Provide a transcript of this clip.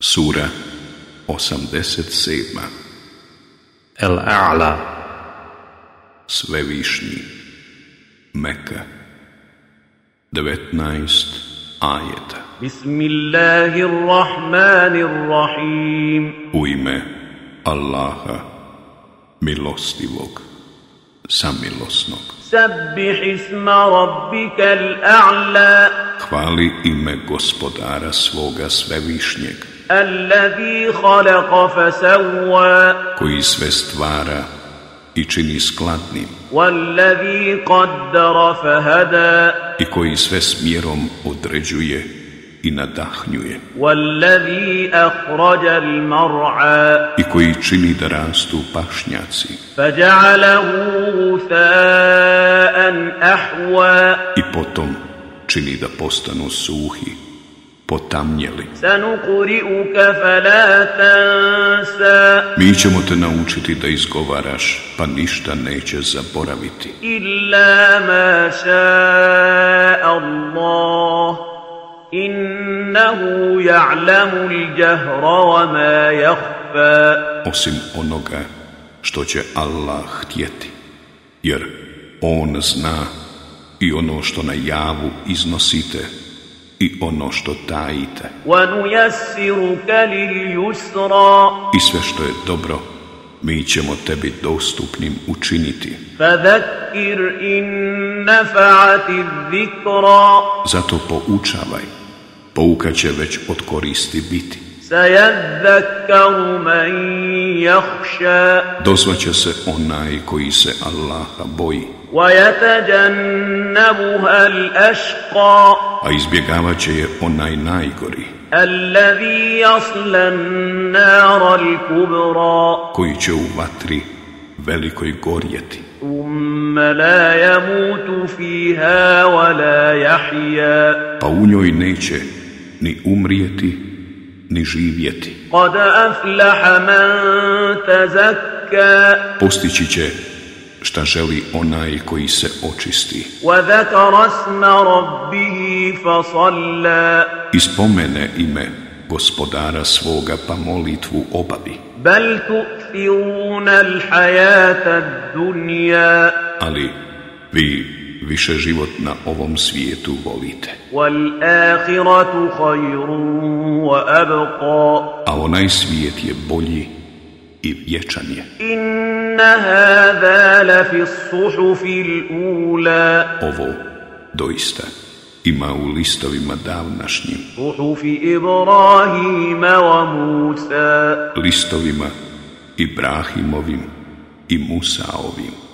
Sura 87. El-A'la, Svevišnji Meka 19 ajeta بسم الله الرحمن الرحيم U ime Allaha Milostivog Samilosnog سبح اسم ربك الأعلى Hvali ime gospodara svoga Svevišnjeg الذي خلق فسوى Koji sve stvara i čini skladnim والذي قدر فهدى I koji sve smjerom određuje i nadahnjuje والذي أخرج المرعى I koji čini da rastu pašnjaci فجعله غثاء أحوى i potom čini da postanu suhi, potamnjeli. سنقرئك فلا تنسى Mi ćemo te naučiti da izgovaraš, pa ništa neće zaboraviti, إلا ما شاء الله إنه يعلم الجهر وما يخفى osim onoga što će Allah htjeti, jer On zna i ono što na javu iznosite i ono što tajite ونيسرك لليسرى i sve što je dobro, mi ćemo tebi dostupnim učiniti. فذكر إن نفعت الذكرى Zato poučavaj, pouka će već od koristi biti. سيذكر من يخشى Dozvaće se onaj koji se Allaha boji, ويتجنبها الأشقى a izbjegavat će je onaj najgori, الذي يصلى النار الكبرى koji će u vatri velikoj gorjeti, ثم لا يموت فيها ولا يحيا pa u njoj neće ni umrijeti, ni živjeti. قد أفلح من تزكى Postići će šta želi onaj koji se očisti, وذكر اسم ربه فصلى ispomene ime gospodara svoga pa molitvu obavi, بل تؤثرون الحياة الدنيا ali vi više život na ovom svijetu volite. والآخرة خير وأبقى a onaj svijet je bolji i vječan je. إن هذا لفي الصحف الأولى Ovo doista ima u listovima davnašnjim, صحف إبراهيم وموسى listovima Ibrahimovim i Musaovim,